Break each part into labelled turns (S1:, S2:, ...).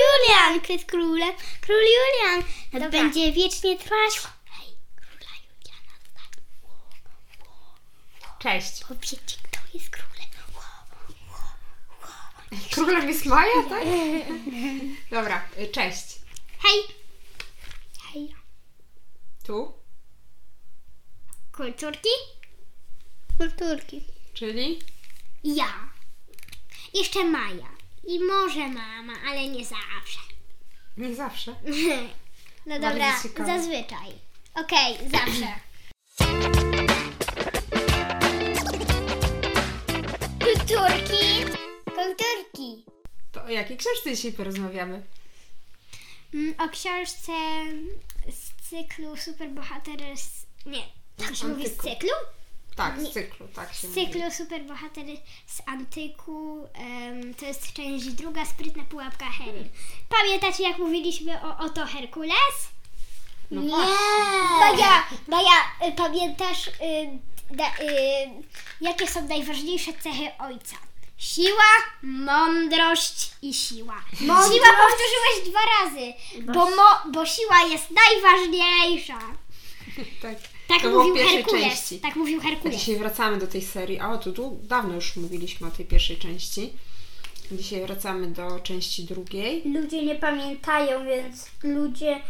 S1: Julian, jest królem. Król Julian. To
S2: Dobra.
S1: będzie wiecznie trwać. Hej, króla Juliana, tak.
S2: Cześć.
S1: Powiedzcie, kto jest królem. Ło, ło, ło.
S2: Królem jest Maja, tak? Dobra, y, cześć.
S1: Hej. Hej.
S2: Tu,
S1: Kulturki? Kulturki.
S2: czyli
S1: Ja. Jeszcze Maja. I może mama, ale nie zawsze.
S2: nie zawsze.
S1: No
S2: Bardzo
S1: dobra,
S2: ciekawe.
S1: zazwyczaj. Okej, zawsze. Kulturki. Kulturki.
S2: To o jakiej książce dzisiaj porozmawiamy?
S1: Mm, O książce z cyklu Superbohatery z... Nie, to się mówi z
S2: Antyku.
S1: cyklu?
S2: Tak,
S1: Nie.
S2: z cyklu, tak się
S1: Z
S2: mówi.
S1: cyklu Superbohatery z Antyku. em, to jest część druga, Sprytna pułapka
S2: Mhm.
S1: Hery. Pamiętacie jak mówiliśmy o Oto Herkules?
S2: No
S1: nie!
S2: właśnie.
S1: Baja, Baja, y, pamiętasz, y, da, y, jakie są najważniejsze cechy ojca? Siła, mądrość i siła. Siła powtórzyłeś dwa razy, bo, mo, bo siła jest najważniejsza.
S2: Tak,
S1: Tak
S2: to było w
S1: mówił
S2: pierwszej
S1: Herkules.
S2: części.
S1: Tak mówił
S2: A
S1: Herkules.
S2: dzisiaj wracamy do tej serii. A o, tu, tu dawno już mówiliśmy o tej pierwszej części. Dzisiaj wracamy do części drugiej.
S3: Ludzie nie pamiętają, więc ludzie,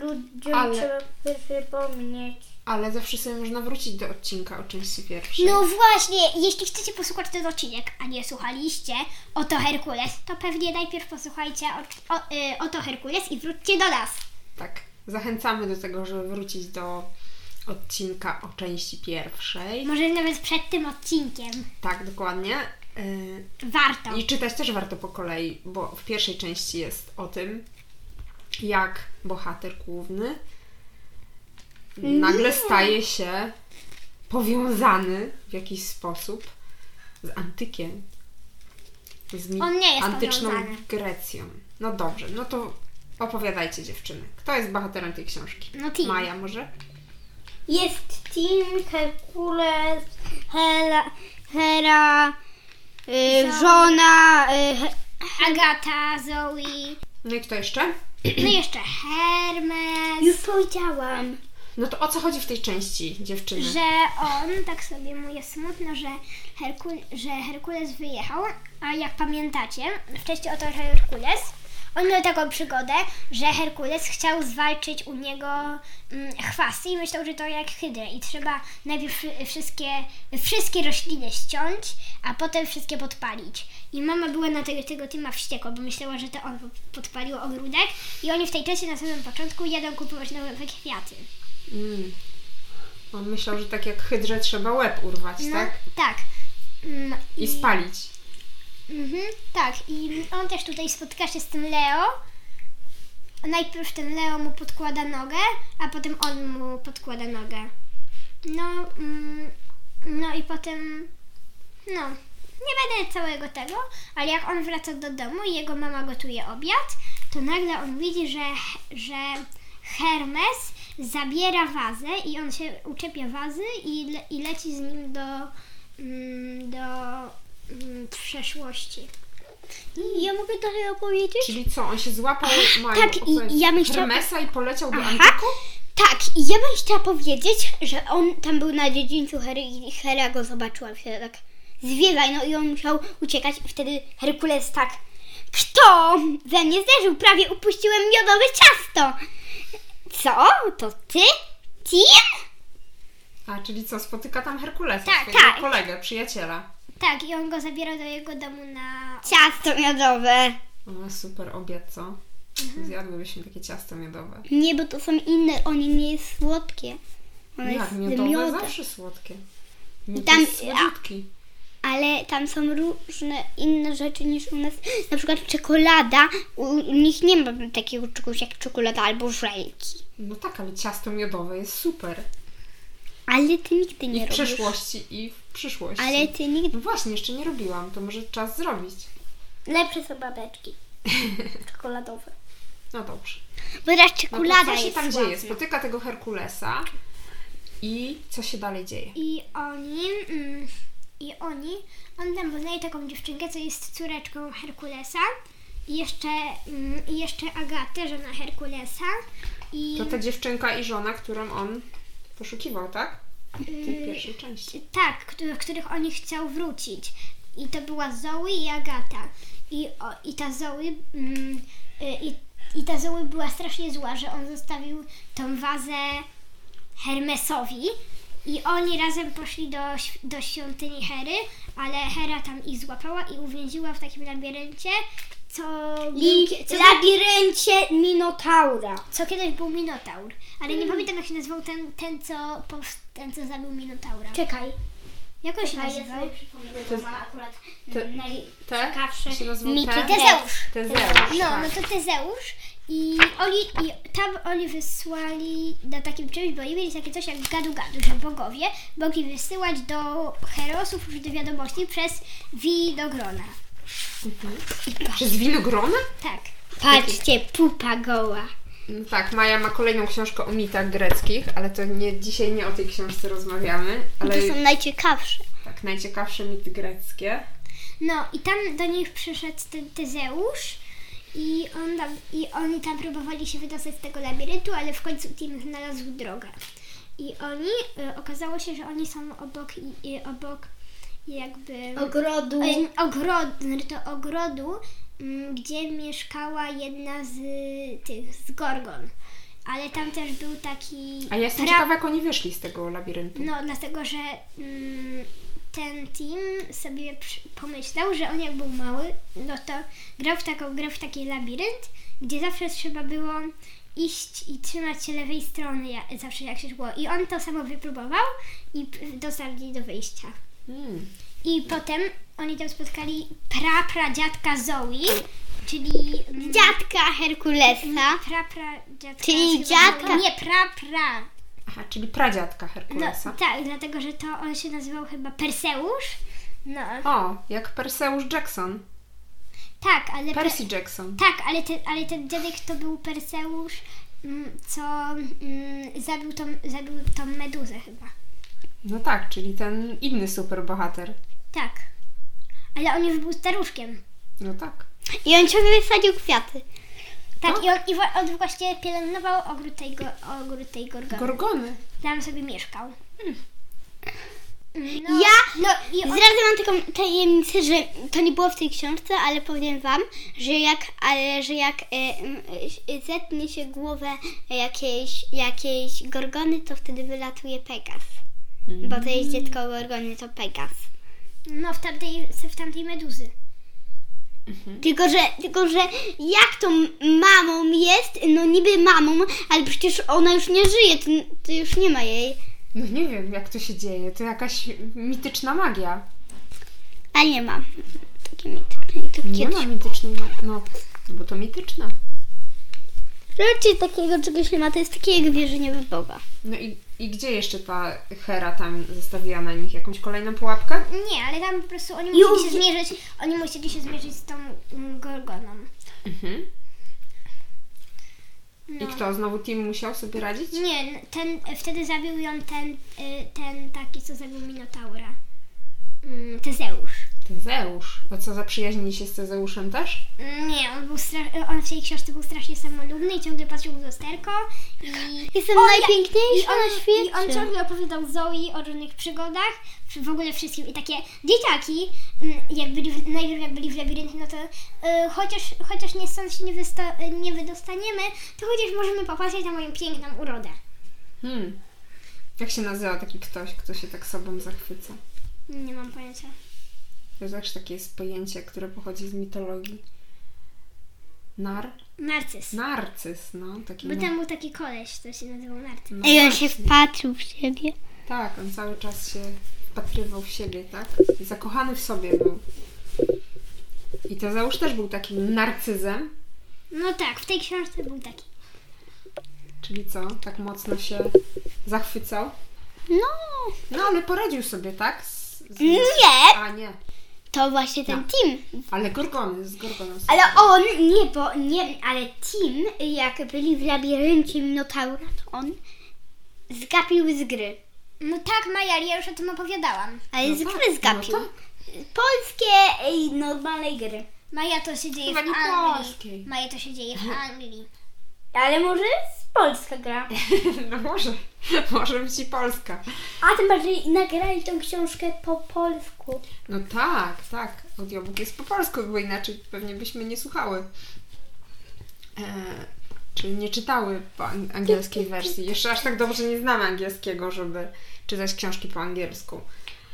S3: ludziom
S2: Ale-
S3: trzeba przypomnieć.
S2: Ale zawsze sobie można wrócić do odcinka o części pierwszej.
S1: No właśnie, jeśli chcecie posłuchać ten odcinek, a nie słuchaliście Oto Herkules, to pewnie najpierw posłuchajcie o, o, y, Oto Herkules i wróćcie do nas.
S2: Tak, zachęcamy do tego, żeby wrócić do odcinka o części pierwszej.
S1: Może nawet przed tym odcinkiem.
S2: Tak, dokładnie. Y,
S1: Warto.
S2: I czytać też warto po kolei, bo w pierwszej części jest o tym, jak bohater główny nagle staje się powiązany w jakiś sposób z antykiem. Z mi-
S1: On nie jest
S2: antyczną
S1: powiązany.
S2: Grecją. No dobrze, no to opowiadajcie dziewczyny. Kto jest bohaterem tej książki?
S1: No Tim.
S2: Maja może?
S3: Jest Tim, Herkules, Hela, Hera, y, żona, y, he,
S1: Agata, Zoe,
S2: No i kto jeszcze?
S1: no jeszcze Hermes,
S3: już powiedziałam.
S2: No to o co chodzi w tej części, dziewczyny?
S1: że on, tak sobie mu jest smutno, że, Herkul, że Herkules wyjechał, a jak pamiętacie, wcześniej oto Herkules, on miał taką przygodę, że Herkules chciał zwalczyć u niego mm, chwasty i myślał, że to jak hydrę i trzeba najpierw wszy- wszystkie, wszystkie rośliny ściąć, a potem wszystkie podpalić. I mama była na tego, tego Tyma wściekła, bo myślała, że to on podpalił ogródek i oni w tej części na samym początku jadą kupować nowe kwiaty.
S2: Mm. On myślał, że tak jak hydrze trzeba łeb urwać,
S1: No,
S2: tak?
S1: Tak. Mm,
S2: I spalić.
S1: Mhm, tak, i on też tutaj spotyka się z tym Leo. Najpierw ten Leo mu podkłada nogę, a potem on mu podkłada nogę. No, mm, no i potem, no, nie będę całego tego, ale jak on wraca do domu i jego mama gotuje obiad, to nagle on widzi, że, że Hermes zabiera wazę i on się uczepia wazy i, le, i leci z nim do, mm, do mm, przeszłości.
S3: Ja mogę dalej opowiedzieć?
S2: Czyli co, on się złapał Maju,
S1: tak, i-
S2: opowiedz,
S1: i ja bym chciała-
S2: Hermesa i poleciał do
S1: Aha.
S2: Antyku?
S3: Tak, i ja bym chciała powiedzieć, że on tam był na dziedzińcu Hery i Hera go zobaczyła się tak zwiewaj, no i on musiał uciekać i wtedy Herkules tak Kto we mnie zderzył? Prawie upuściłem miodowe ciasto! Co? To ty? Tim?
S2: A, czyli co, spotyka tam Herkulesa,
S1: Tak,
S2: swojego
S3: tak.
S2: kolegę, przyjaciela.
S1: Tak, i on go zabiera do jego domu na...
S3: Ciasto miodowe!
S2: O, No, super obiad, co?
S1: Mhm.
S2: Zjadłybyśmy takie ciasto miodowe.
S3: Nie, bo to są inne, oni nie jest słodkie.
S1: No,
S3: One
S2: Jak,
S3: jest
S2: miodowe
S3: miodem.
S2: zawsze słodkie. Miód
S3: Tam-
S2: jest słodziutki.
S3: Ale tam są różne inne rzeczy niż u nas. Na przykład czekolada. U, u nich nie ma takiego czegoś jak czekolada albo żelki.
S2: No tak, ale ciasto miodowe jest super.
S3: Ale ty nigdy nie
S2: I w
S3: robisz.
S2: przeszłości, i w przyszłości.
S3: Ale ty nigdy.
S2: No właśnie, jeszcze nie robiłam, to może czas zrobić.
S3: Lepsze są babeczki. Czekoladowe.
S2: No dobrze.
S3: Bo teraz
S2: No to
S3: czekolada
S2: co się
S3: jest
S2: tam
S3: słodka.
S2: dzieje? Spotyka tego Herkulesa i co się dalej dzieje?
S1: I oni... Mm, I oni... On tam poznaje taką dziewczynkę, co jest córeczką Herkulesa
S4: i jeszcze, mm, i jeszcze Agatę, żona Herkulesa. I
S2: To ta dziewczynka i żona, którą on poszukiwał, tak? W tej pierwszej części.
S4: Tak, któ- których oni chciał wrócić. I to była Zoe i Agata. Tak. I, o, i ta Zoe. Mm, y, i, I ta Zoe była strasznie zła, że on zostawił tą wazę Hermesowi. I oni razem poszli do, św- do świątyni Hery, ale Hera tam ich złapała i uwięziła w takim labiryncie, co, był,
S1: Li-
S4: co,
S1: labiryncie Minotaura.
S4: co kiedyś był Minotaur. Ale nie pamiętam jak się nazywał ten, ten, co, powst- ten co zabił Minotaura.
S1: Czekaj.
S4: Jak on się
S1: Czekaj, ja
S4: nazywał?
S1: sobie przypomnę,
S2: To
S1: bo
S2: jest-
S1: ma akurat
S2: to- Te?
S1: najciekawsze.
S2: się nazywał
S1: mity
S2: te?
S4: Tezeusz.
S2: Tezeusz.
S4: No,
S2: tak.
S4: no to Tezeusz i oni, i tam oni wysłali na takim czymś, bo oni mieli takie coś jak gadu-gadu, że bogowie mogli wysyłać do herosów już do wiadomości przez winogrona.
S2: Przez winogrona?
S4: Tak.
S1: Patrzcie, pupa goła.
S2: No tak, Maja ma kolejną książkę o mitach greckich, ale to nie, dzisiaj nie o tej książce rozmawiamy, ale
S1: No To są najciekawsze.
S2: tak, najciekawsze mity greckie.
S4: No i tam do nich przyszedł ten Tezeusz i, on tam, i oni tam próbowali się wydostać z tego labiryntu, ale w końcu Tim znalazł drogę. I oni, y, okazało się, że oni są obok, i, i obok jakby...
S1: Ogrodu.
S2: Mm.
S4: Em, Ogrod, znaczy to ogrodu, mm, gdzie mieszkała jedna z tych, z Gorgon. Ale tam też był taki.
S2: A ja jestem
S4: pra-
S2: ciekawa, jak oni wyszli z tego labiryntu.
S4: No, dlatego, że mm, ten team sobie przy- pomyślał, że on jak był mały, no to grał w taką grę, w taki labirynt, gdzie zawsze trzeba było iść i trzymać się lewej strony, ja- zawsze jak się szło. I on to samo wypróbował i p- dotarli do wyjścia.
S2: Hmm.
S4: I potem oni tam spotkali pra, pra dziadka Zoe, czyli mm,
S1: Dziadka Herkulesa.
S4: pra, pra dziadka.
S1: Czyli
S4: chyba
S1: dziadka-
S4: było- Nie, pra, pra.
S2: Aha, czyli pradziadka
S4: No,
S2: Herkulesa.
S4: tak, dlatego że to on się nazywał chyba Perseusz. No,
S2: O, jak Perseusz Jackson.
S4: tak, ale pre,
S2: Percy Jackson.
S4: tak, ale ten, ale ten dziadek to był Perseusz, mm, co mm, zabił, tą, zabił tą meduzę chyba.
S2: No tak, czyli ten inny superbohater.
S4: Tak. Ale on już był staruszkiem.
S2: No tak.
S1: I on ciągle wysadził kwiaty.
S4: Tak, i, on, i wa- on właśnie pielęgnował ogród tej, go, ogród tej gorgony.
S2: Gorgony.
S4: tam sobie mieszkał. Hmm. No,
S1: Ja-
S4: no i on,
S1: Zdradzę wam taką tajemnicę, że to nie było w tej książce, ale powiem wam, że jak, ale, że jak e, m, e, zetnie się głowę jakiejś, jakiejś gorgony, to wtedy wylatuje Pegas. Bo to jest dziecko gorgony, to Pegas.
S4: no w tamtej, w tamtej meduzy.
S1: Tylko że, tylko, że jak tą mamą jest, no niby mamą, ale przecież ona już nie żyje, to, to już nie ma jej.
S2: No nie wiem, jak to się dzieje. To jakaś mityczna magia.
S1: A nie ma. Taki mit. I to
S2: Nie ma
S1: kiedyś.
S2: mitycznej magii. No, bo to mityczna.
S1: Raczej takiego czegoś nie ma, to jest takie jak wierzenie w Boga.
S2: No i, i gdzie jeszcze ta Hera tam zostawiła na nich jakąś kolejną pułapkę?
S4: Nie, ale tam po prostu oni
S1: Już.
S4: musieli się zmierzyć, oni musieli się zmierzyć z tą mm, Gorgoną.
S2: Mhm. I
S4: No.
S2: kto? Znowu Tim musiał sobie radzić?
S4: Nie, ten, wtedy zabił ją ten, y, ten taki, co zabił Minotaura. Mm, Tezeusz.
S2: Tezeusz. A co, zaprzyjaźnili się z Tezeuszem też?
S4: Nie, on był stra- on w tej książce był strasznie samolubny i ciągle patrzył w lusterko i
S1: Jestem najpiękniejsza
S4: I on,
S1: na świecie.
S4: I on ciągle opowiadał Zoe o różnych przygodach, przy- w ogóle wszystkim. I takie dzieciaki, mm, jak byli w, najpierw jak byli w labiryncie, no to y, chociaż, chociaż nie stąd się nie, wysta- y, nie wydostaniemy, to chociaż możemy popatrzeć na moją piękną urodę.
S2: Hmm. Jak się nazywa taki ktoś, kto się tak sobą zachwyca?
S4: Nie mam pojęcia.
S2: To też takie jest pojęcie, które pochodzi z mitologii. Nar?
S4: Narcyz.
S2: Narcyz, no. Taki
S4: Bo
S2: na-
S4: tam był taki koleś, co się nazywał Narcyz.
S2: no.
S1: Ej, on się wpatrzył w siebie.
S2: Tak, on cały czas się wpatrywał w siebie, tak? I Zakochany w sobie był. I Tezeusz też był takim narcyzem,
S4: No tak, w tej książce był taki.
S2: czyli co? Tak mocno się zachwycał.
S1: No.
S2: No, ale poradził sobie, tak? Z, z...
S1: Nie!
S2: A, nie.
S1: To właśnie ten
S2: No.
S1: Tim.
S2: Ale Gorgony, z Gorgoną.
S1: Ale on, nie, bo nie, ale Tim, jak byli w labiryncie Minotaura, to on zgapił z gry.
S4: No tak, Maja, ale ja już o tym opowiadałam.
S1: Ale
S2: No
S1: z
S2: tak,
S1: gry zgapił.
S2: no tak.
S1: Polskie, ej, normalnej gry.
S4: Maja to się dzieje
S2: Chyba nie
S4: w Anglii.
S2: polskiej.
S4: Maja to się dzieje w Anglii.
S1: Ale może z Polska gra.
S2: No może, może być i Polska.
S1: A tym bardziej nagrali tą książkę po polsku.
S2: No tak, tak. Audiobook jest po polsku, bo inaczej pewnie byśmy nie słuchały. E, czyli nie czytały po an- angielskiej wersji. Jeszcze aż tak dobrze nie znamy angielskiego, żeby czytać książki po angielsku.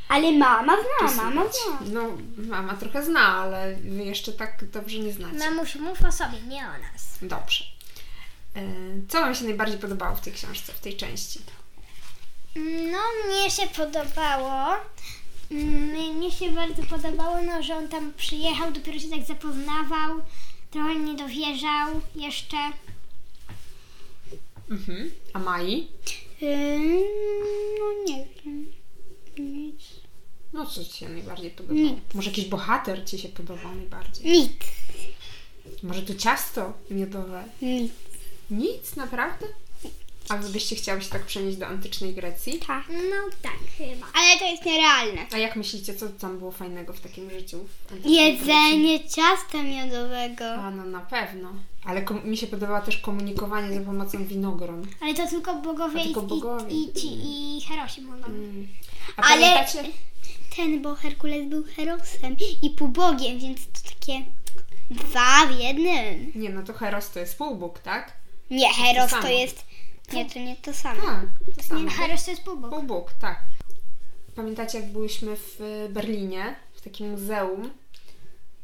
S1: Ale mama zna, mama
S2: Słuchać.
S1: zna.
S2: No, mama trochę zna, ale wy jeszcze tak dobrze nie znacie.
S4: Mamusiu, mów o sobie, nie o nas.
S2: Dobrze. E, co Wam się najbardziej podobało w tej książce, w tej części?
S4: No, mnie się podobało. Mm, Mnie się bardzo podobało, no, że on tam przyjechał, dopiero się tak zapoznawał, trochę nie dowierzał jeszcze.
S2: Mhm. A Mai?
S1: Ym,
S4: Yy,
S1: no nie wiem. Nic.
S2: No, co Ci się najbardziej podobało? Może jakiś bohater Ci się podobał najbardziej?
S1: Nic.
S2: Może to ciasto miodowe?
S1: Nic.
S2: Nic, naprawdę? A wy byście chciały się tak przenieść do antycznej Grecji?
S1: Tak.
S4: No, tak chyba.
S1: Ale to jest nierealne.
S2: A jak myślicie, co tam było fajnego w takim życiu? w antycznej Grecji?
S1: Jedzenie ciasta miodowego.
S2: A no na pewno. Ale kom- mi się podobało też komunikowanie za pomocą winogron.
S4: Ale to tylko bogowie,
S2: A tylko
S4: i-
S2: bogowie.
S4: i, i ci i Herosi mogą.
S2: Mm. A
S1: Ale-
S2: pamiętacie?
S1: Ten, bo Herkules był Herosem i półbogiem, więc to takie dwa w jednym.
S2: Nie, no to Heros to jest półbóg, tak?
S1: Nie, Heros to
S2: samo.
S1: jest... Nie, to nie to samo.
S2: Tak, to samo.
S4: Heros to jest półbóg.
S2: Półbóg, tak. Pamiętacie, jak byliśmy w y, Berlinie, w takim muzeum,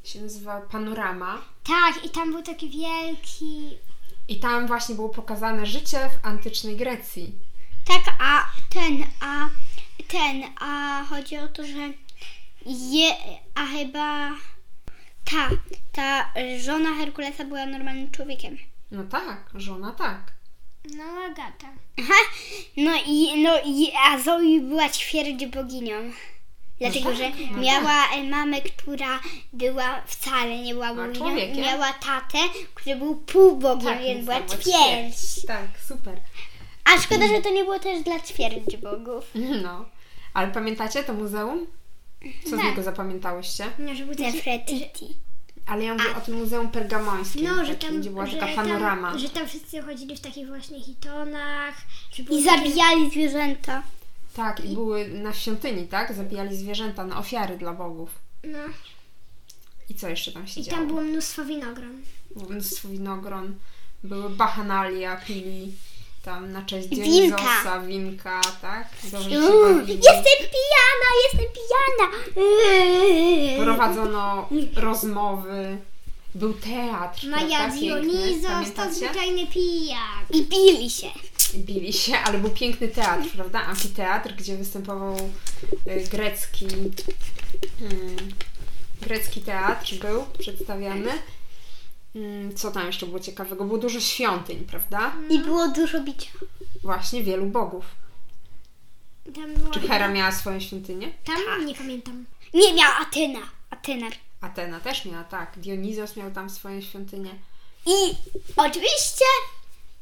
S2: się nazywa Panorama.
S4: Tak, i tam był taki wielki...
S2: I tam właśnie było pokazane życie w antycznej Grecji.
S1: Tak, a ten, a ten, a chodzi o to, że je, a chyba ta, ta żona Herkulesa była normalnym człowiekiem.
S2: No tak, żona tak.
S4: No, Agata.
S1: No i, no i, a Zoe była ćwierć boginią. Dlatego,
S2: tak,
S1: że
S2: no
S1: miała e, mamę, która była wcale nie była boginią.
S2: człowiekiem.
S1: Miała tatę, który był półbogiem,
S4: Tak,
S1: więc była ćwierć.
S2: Tak, super.
S1: Tak, A szkoda, że to nie było też dla ćwierć bogów.
S4: Mhm.
S2: No. Ale pamiętacie to muzeum? Co z
S4: Tak.
S2: niego zapamiętałyście?
S4: No, że był taki...
S1: Nefretiti.
S2: Ale ja mówię o tym muzeum pergamońskim,
S4: No, że
S2: takim,
S4: tam,
S2: gdzie była
S4: że,
S2: taka panorama.
S4: Tam, że tam wszyscy chodzili w takich właśnie hitonach. Że było
S1: I
S4: takie-
S1: zabijali zwierzęta.
S2: Tak, i były na świątyni, tak? Zabijali zwierzęta na ofiary dla bogów.
S4: No.
S2: I co jeszcze tam się
S4: I
S2: działo?
S4: tam było mnóstwo winogron.
S2: Było mnóstwo winogron, były bachanalia, pili tam na cześć
S1: Winka.
S2: Dionizosa, winka, tak? Dobrze się
S1: Uuu,
S2: bawili.
S1: Mm, jestem pijana, jestem pijana. Mm,
S2: Yy.
S1: Uuu.
S2: Prowadzono rozmowy, był teatr,
S1: No
S4: Maja
S2: prawda? Piękny,
S4: Dionizos to
S2: pamiętacie?
S4: zwyczajny pijak.
S1: I bili się.
S2: Bili się, ale był piękny teatr, prawda? Amfiteatr, gdzie występował y, grecki mm, grecki teatr był przedstawiany. Mm, Co tam jeszcze było ciekawego? Było dużo świątyń, prawda?
S1: I było dużo bicia.
S2: Właśnie wielu bogów.
S4: Tam było...
S2: Czy
S1: No
S2: Hera
S1: tak.
S2: miała Tak. swoją świątynię?
S4: Tam? Nie pamiętam.
S1: Nie miała Atena. Atena.
S2: Atena też miała, tak. Dionizos miał tam swoją świątynię.
S1: I oczywiście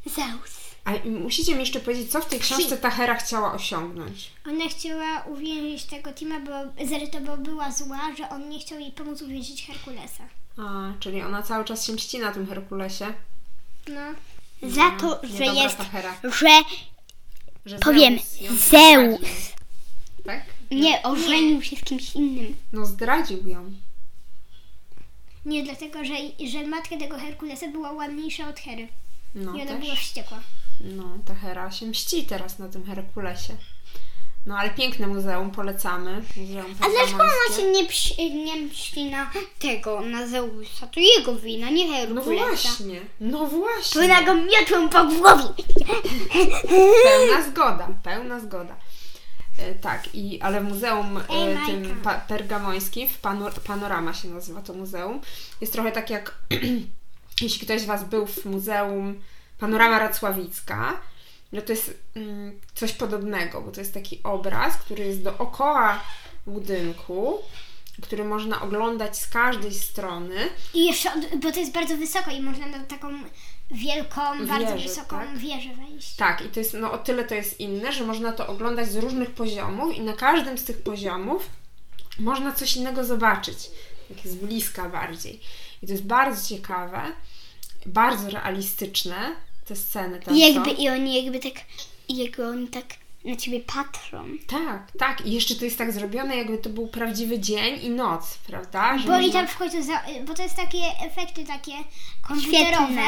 S1: Zeus.
S2: Ale musicie mi jeszcze powiedzieć, co w tej książce ta Hera chciała osiągnąć.
S4: Ona chciała uwięzić tego Tima, bo Zeryto bo była zła, że on nie chciał jej pomóc uwięzić Herkulesa.
S2: A, czyli ona cały czas się mści na tym Herkulesie.
S4: No.
S1: Za to, że
S2: Niedobra
S1: jest,
S2: ta Hera.
S1: że
S2: Że
S1: powiem,
S2: Zeus ją
S1: Zeus.
S2: zdradził. Tak?
S1: nie ożenił się z kimś innym.
S2: No zdradził ją.
S4: Nie dlatego, że, że matka tego Herkulesa była ładniejsza od Hery.
S2: No,
S4: I ona była
S2: też.
S4: wściekła.
S2: no ta Hera się mści teraz na tym Herkulesie. No ale piękne muzeum, polecamy. Muzeum
S1: A dlaczego ona
S2: Pergamońskie.
S1: się nie, przy, nie mści na tego, na Zeusa? To jego wina, nie
S2: No
S1: Herkulesa.
S2: właśnie, no właśnie.
S1: Powinna go miotłem po głowie.
S2: Pełna zgoda, pełna zgoda. E, tak, i, ale muzeum e,
S4: Ej, Majka.
S2: tym pa, pergamońskim, w pano, Panorama się nazywa to muzeum, jest trochę tak jak, jeśli ktoś z Was był w muzeum Panorama Racławicka, no to jest mm, coś podobnego, bo to jest taki obraz, który jest dookoła budynku, który można oglądać z każdej strony.
S4: I jeszcze, od, bo to jest bardzo wysoko i można na taką wielką, bardzo
S2: Wieżę,
S4: wysoką
S2: tak?
S4: wieżę wejść.
S2: Tak, i to jest, no o tyle to jest inne, że można to oglądać z różnych poziomów i na każdym z tych poziomów można coś innego zobaczyć. tak z bliska bardziej. I to jest bardzo ciekawe, bardzo realistyczne te sceny tam są.
S1: Jakby i oni jakby tak, jakby oni tak na ciebie patrzą.
S2: Tak, tak. I jeszcze to jest tak zrobione, jakby to był prawdziwy dzień i noc, prawda? Że
S4: Bo i tak
S2: można-
S4: tam w końcu, za, bo to jest takie efekty takie komputerowe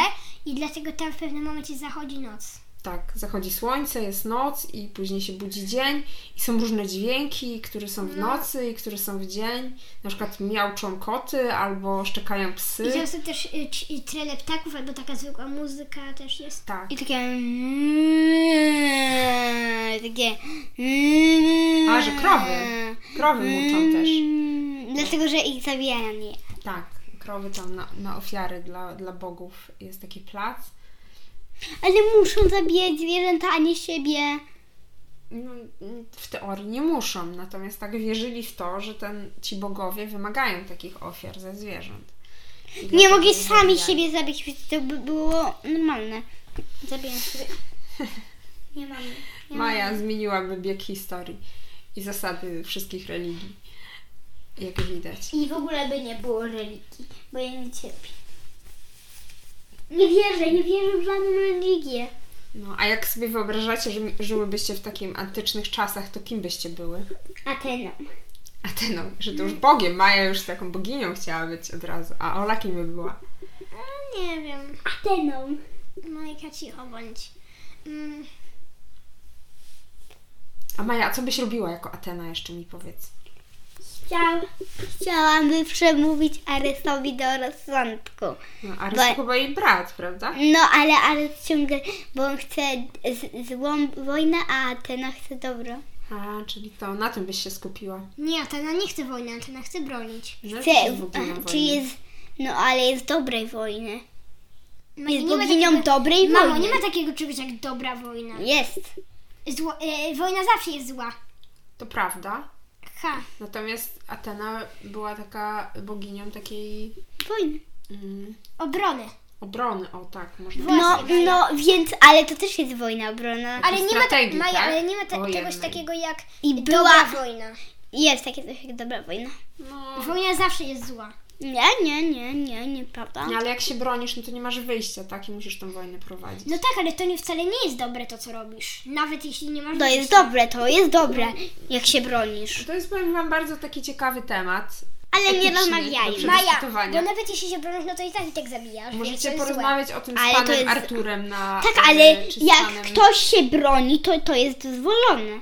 S4: i dlatego tam w pewnym momencie zachodzi noc.
S2: Tak, zachodzi słońce, jest noc i później się budzi dzień i są różne dźwięki, które są
S1: No.
S2: w nocy i które są w dzień. Na przykład miauczą koty albo szczekają
S4: I
S2: psy.
S4: często też y, c- y, trele ptaków albo taka zwykła muzyka też jest.
S2: Tak.
S1: I takie... mm, Takie... mm.
S2: A, że krowy. Krowy muczą też.
S1: Mm, Dlatego, że ich zabijają je.
S2: Tak, krowy tam na, na ofiary dla, dla bogów jest taki plac.
S1: Ale muszą zabijać zwierzęta, a nie siebie.
S2: No, w teorii nie muszą, natomiast tak wierzyli w to, że ten, ci bogowie wymagają takich ofiar ze zwierząt. I
S1: Nie
S2: dlatego
S1: mogli
S2: je
S1: sami
S2: zabijali.
S1: siebie zabić, więc to by było normalne. Zabiję sobie. Nie mam. nie mam.
S2: Maja zmieniłaby bieg historii i zasady wszystkich religii, jak widać.
S1: I w ogóle by nie było religii, bo ja nie cierpię. Nie wierzę, nie wierzę w żadną religię.
S2: No, a jak sobie wyobrażacie, że mi- żyłybyście w takim antycznych czasach, to kim byście były?
S1: Ateną. Mm.
S2: Ateną, że to już Bogiem. Maja już taką boginią chciała być od razu, a Ola kim by była?
S4: Nie wiem,
S1: Ateną.
S4: Majka cicho bądź. Mm,
S2: A Maja, a co byś robiła jako Atena jeszcze mi powiedz?
S1: Chciał, chciałabym przemówić Aresowi do rozsądku.
S2: No, Ares
S1: Bo-
S2: chyba jej brat, prawda?
S1: No, ale Ares ciągle, bo on chce z, złą wojnę, a Atena chce dobro.
S4: No,
S2: A, czyli to na tym byś się skupiła.
S4: nie, Atena nie chce wojny, Atena chce bronić.
S2: No,
S1: Chce,
S2: jesteś boginą
S1: aha,
S2: wojny.
S1: czyli jest, no ale jest dobrej wojny.
S4: Majka,
S1: Jest
S4: nie ma
S1: boginią
S4: takiego-
S1: dobrej
S4: Mamo,
S1: wojny.
S4: nie ma takiego czegoś jak dobra wojna.
S1: Jest.
S4: Zło, y, wojna zawsze jest zła.
S2: To prawda.
S4: Ha,
S2: Natomiast Atena była taka boginią takiej
S1: Wojny.
S2: mm,
S4: obrony.
S2: obrony, o tak, można
S1: No,
S4: Właśnie,
S1: no, więc, ale to też jest wojna obronna.
S4: Ale nie ma, ta,
S2: strategii,
S4: Maja,
S2: tak?
S4: ale nie ma ta,
S2: Wojennej.
S4: czegoś takiego jak
S1: I
S4: dobra
S1: była,
S4: wojna.
S1: jest takie coś jak dobra wojna.
S2: No,
S4: Wojna zawsze jest zła.
S1: Nie, nie, nie, nie, nieprawda.
S2: nie, ale jak się bronisz, no to nie masz wyjścia, tak? I musisz tą wojnę prowadzić.
S4: No tak, ale to nie, wcale nie jest dobre to, co robisz. Nawet jeśli nie masz
S1: To jest
S4: wyjścia.
S1: dobre, to jest dobre, jak się bronisz.
S2: To jest, powiem Wam, bardzo taki ciekawy temat.
S1: Ale nie
S2: Etycznie,
S1: rozmawiajmy.
S2: dobrze.
S4: Maja,
S2: dyskutowania.
S4: bo nawet jeśli się bronisz, no to i tak i tak zabijasz. więc to
S2: Możecie
S4: jest złe.
S2: porozmawiać o tym
S1: Ale
S2: z
S1: to
S2: panem
S1: jest-
S2: Arturem na.
S1: Tak,
S2: e,
S1: ale
S2: czy z
S1: jak
S2: panem-
S1: ktoś się broni, to to jest dozwolone.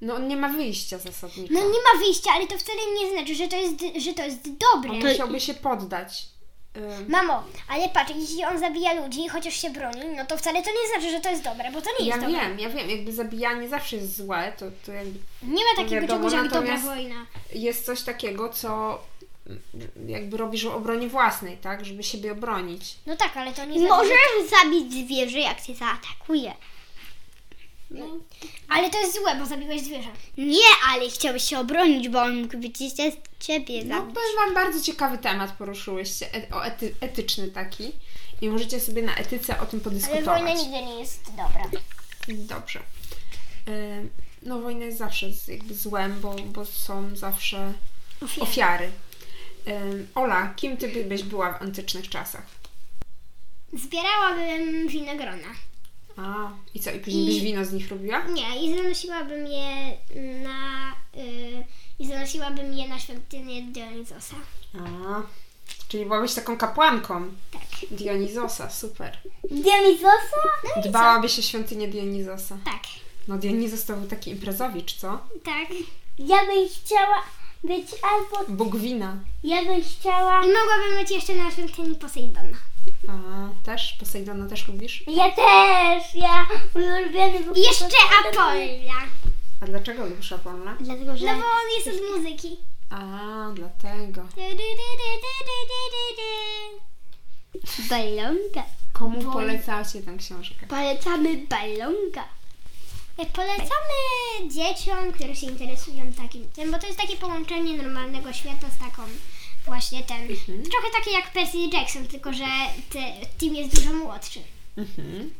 S2: No on nie ma wyjścia zasadniczo.
S4: No nie ma wyjścia, ale to wcale nie znaczy, że to jest, że to jest
S1: no,
S4: dobre.
S2: On musiałby się poddać. Y, Ym,
S4: Mamo, ale patrz, jeśli on zabija ludzi, chociaż się broni, no to wcale to nie znaczy, że to jest dobre, bo to nie
S2: Ja
S4: jest dobre.
S2: wiem, ja wiem, jakby zabijanie zawsze jest złe, to, to jakby
S4: Nie ma takiego
S2: Wiadomo,
S4: czegoś jak
S2: natomiast-
S4: dobra wojna.
S2: jest coś takiego, co mm, jakby robisz w obronie własnej, tak? Żeby siebie obronić.
S4: No tak, ale to nie znaczy, że...
S1: Możesz zabić zwierzę, jak cię zaatakuje.
S2: No,
S4: Ale to jest złe, bo zabiłeś zwierzę.
S1: Nie, ale chciałbyś się obronić, bo on mógł być jeszcze ciebie
S2: No,
S1: zabić.
S2: powiem Wam, bardzo ciekawy temat poruszyłyście, e- o ety, etyczny taki. I możecie sobie na etyce o tym
S4: Ale
S2: podyskutować.
S4: wojna nigdy nie jest dobra.
S2: Dobrze. Ym, No wojna jest zawsze z, jakby złem, bo, bo są zawsze
S4: Ofiary.
S2: ofiary. Ym, Ola, kim ty by- byś była w antycznych czasach?
S4: Zbierałabym winogrona.
S2: A, i co, i później byś
S4: I-
S2: wino z nich robiła?
S4: Nie, i zanosiłabym je na... Y, I zanosiłabym je na świątynię Dionizosa.
S2: A, czyli byłabyś taką kapłanką
S4: Tak. No
S2: Dionizosa, super.
S1: Dionizosa?
S2: Dbałabyś o świątynię Dionizosa.
S4: Tak.
S2: No Dionizos to był taki imprezowicz, co?
S4: Tak.
S1: Ja bym chciała być albo...
S2: Bóg wina.
S1: Ja bym chciała...
S4: I mogłabym być jeszcze na świątyni Posejdona.
S2: A, też? Posejdona też lubisz?
S1: Ja też! Ja... Mój ulubiony był...
S4: I jeszcze Apolla.
S2: A dlaczego lubisz Apolla?
S1: Dlatego, że...
S4: No bo on jest od muzyki.
S2: A, dlatego.
S1: Balonka.
S2: Komu polecacie tę książkę?
S1: Polecamy balonka.
S4: Tak, Polecamy dzieciom, które się interesują takim tym, bo to jest takie połączenie normalnego świata z taką właśnie ten. Trochę takie jak Percy Jackson, tylko że te, Tim jest dużo młodszy.
S2: Mhm.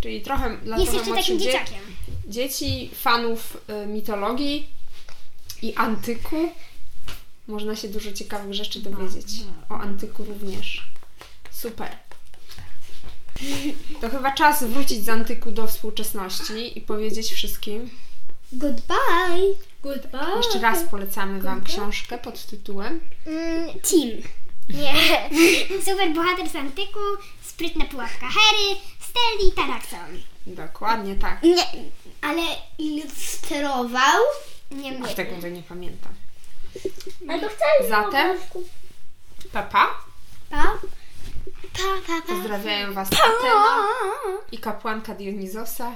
S2: Czyli trochę dla
S4: Jest
S2: trochę
S4: jeszcze
S2: młodszych
S4: takim
S2: dzie-
S4: dzieciakiem.
S2: dzieci, fanów y, mitologii i antyku. Można się dużo ciekawych rzeczy dowiedzieć.
S4: No,
S2: O antyku również. Super. To chyba czas wrócić z antyku do współczesności i powiedzieć wszystkim.
S1: Goodbye.
S4: Tak.
S3: Goodbye.
S2: Jeszcze raz polecamy Wam książkę pod tytułem
S4: Mm,
S1: Team.
S4: nie. Super bohater z antyku, sprytna pułapka Harry, Steli i Taraxon.
S2: Dokładnie tak.
S1: Nie, ale ilustrował.
S4: Nie
S2: Aż
S4: wiem.
S2: tego to nie pamiętam.
S3: Ale to wcale nie
S2: Zatem?
S3: było obrazków.
S2: Papa,
S1: Pa, pa, pa, pa.
S2: pozdrawiają Was Atena i kapłanka Dionizosa.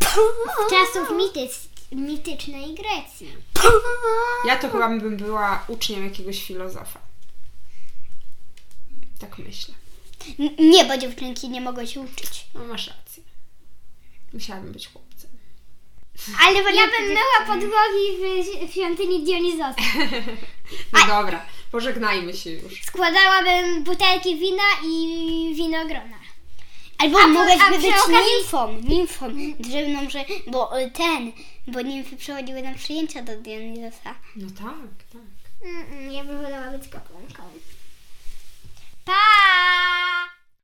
S4: Z czasów mityc, mitycznej Grecji.
S2: Ja to chyba bym była uczniem jakiegoś filozofa. Tak myślę.
S1: N- Nie, bo dziewczynki nie mogą się uczyć.
S2: No masz rację. Musiałabym być chłopcem.
S1: Ale
S4: Ja bym myła podłogi w, w świątyni Dionizosa.
S2: No dobra, pożegnajmy się już.
S4: Składałabym butelki wina i winogrona.
S1: Albo
S4: A
S1: mogę
S4: po- a
S1: być
S4: przy okazji-
S1: nimfą, nimfą drzewną, że, bo y, ten, bo nimfy przychodziły na przyjęcia do Dionizosa.
S2: No tak, tak.
S4: Mm, mm, ja bym wolała być kapłanką. Pa!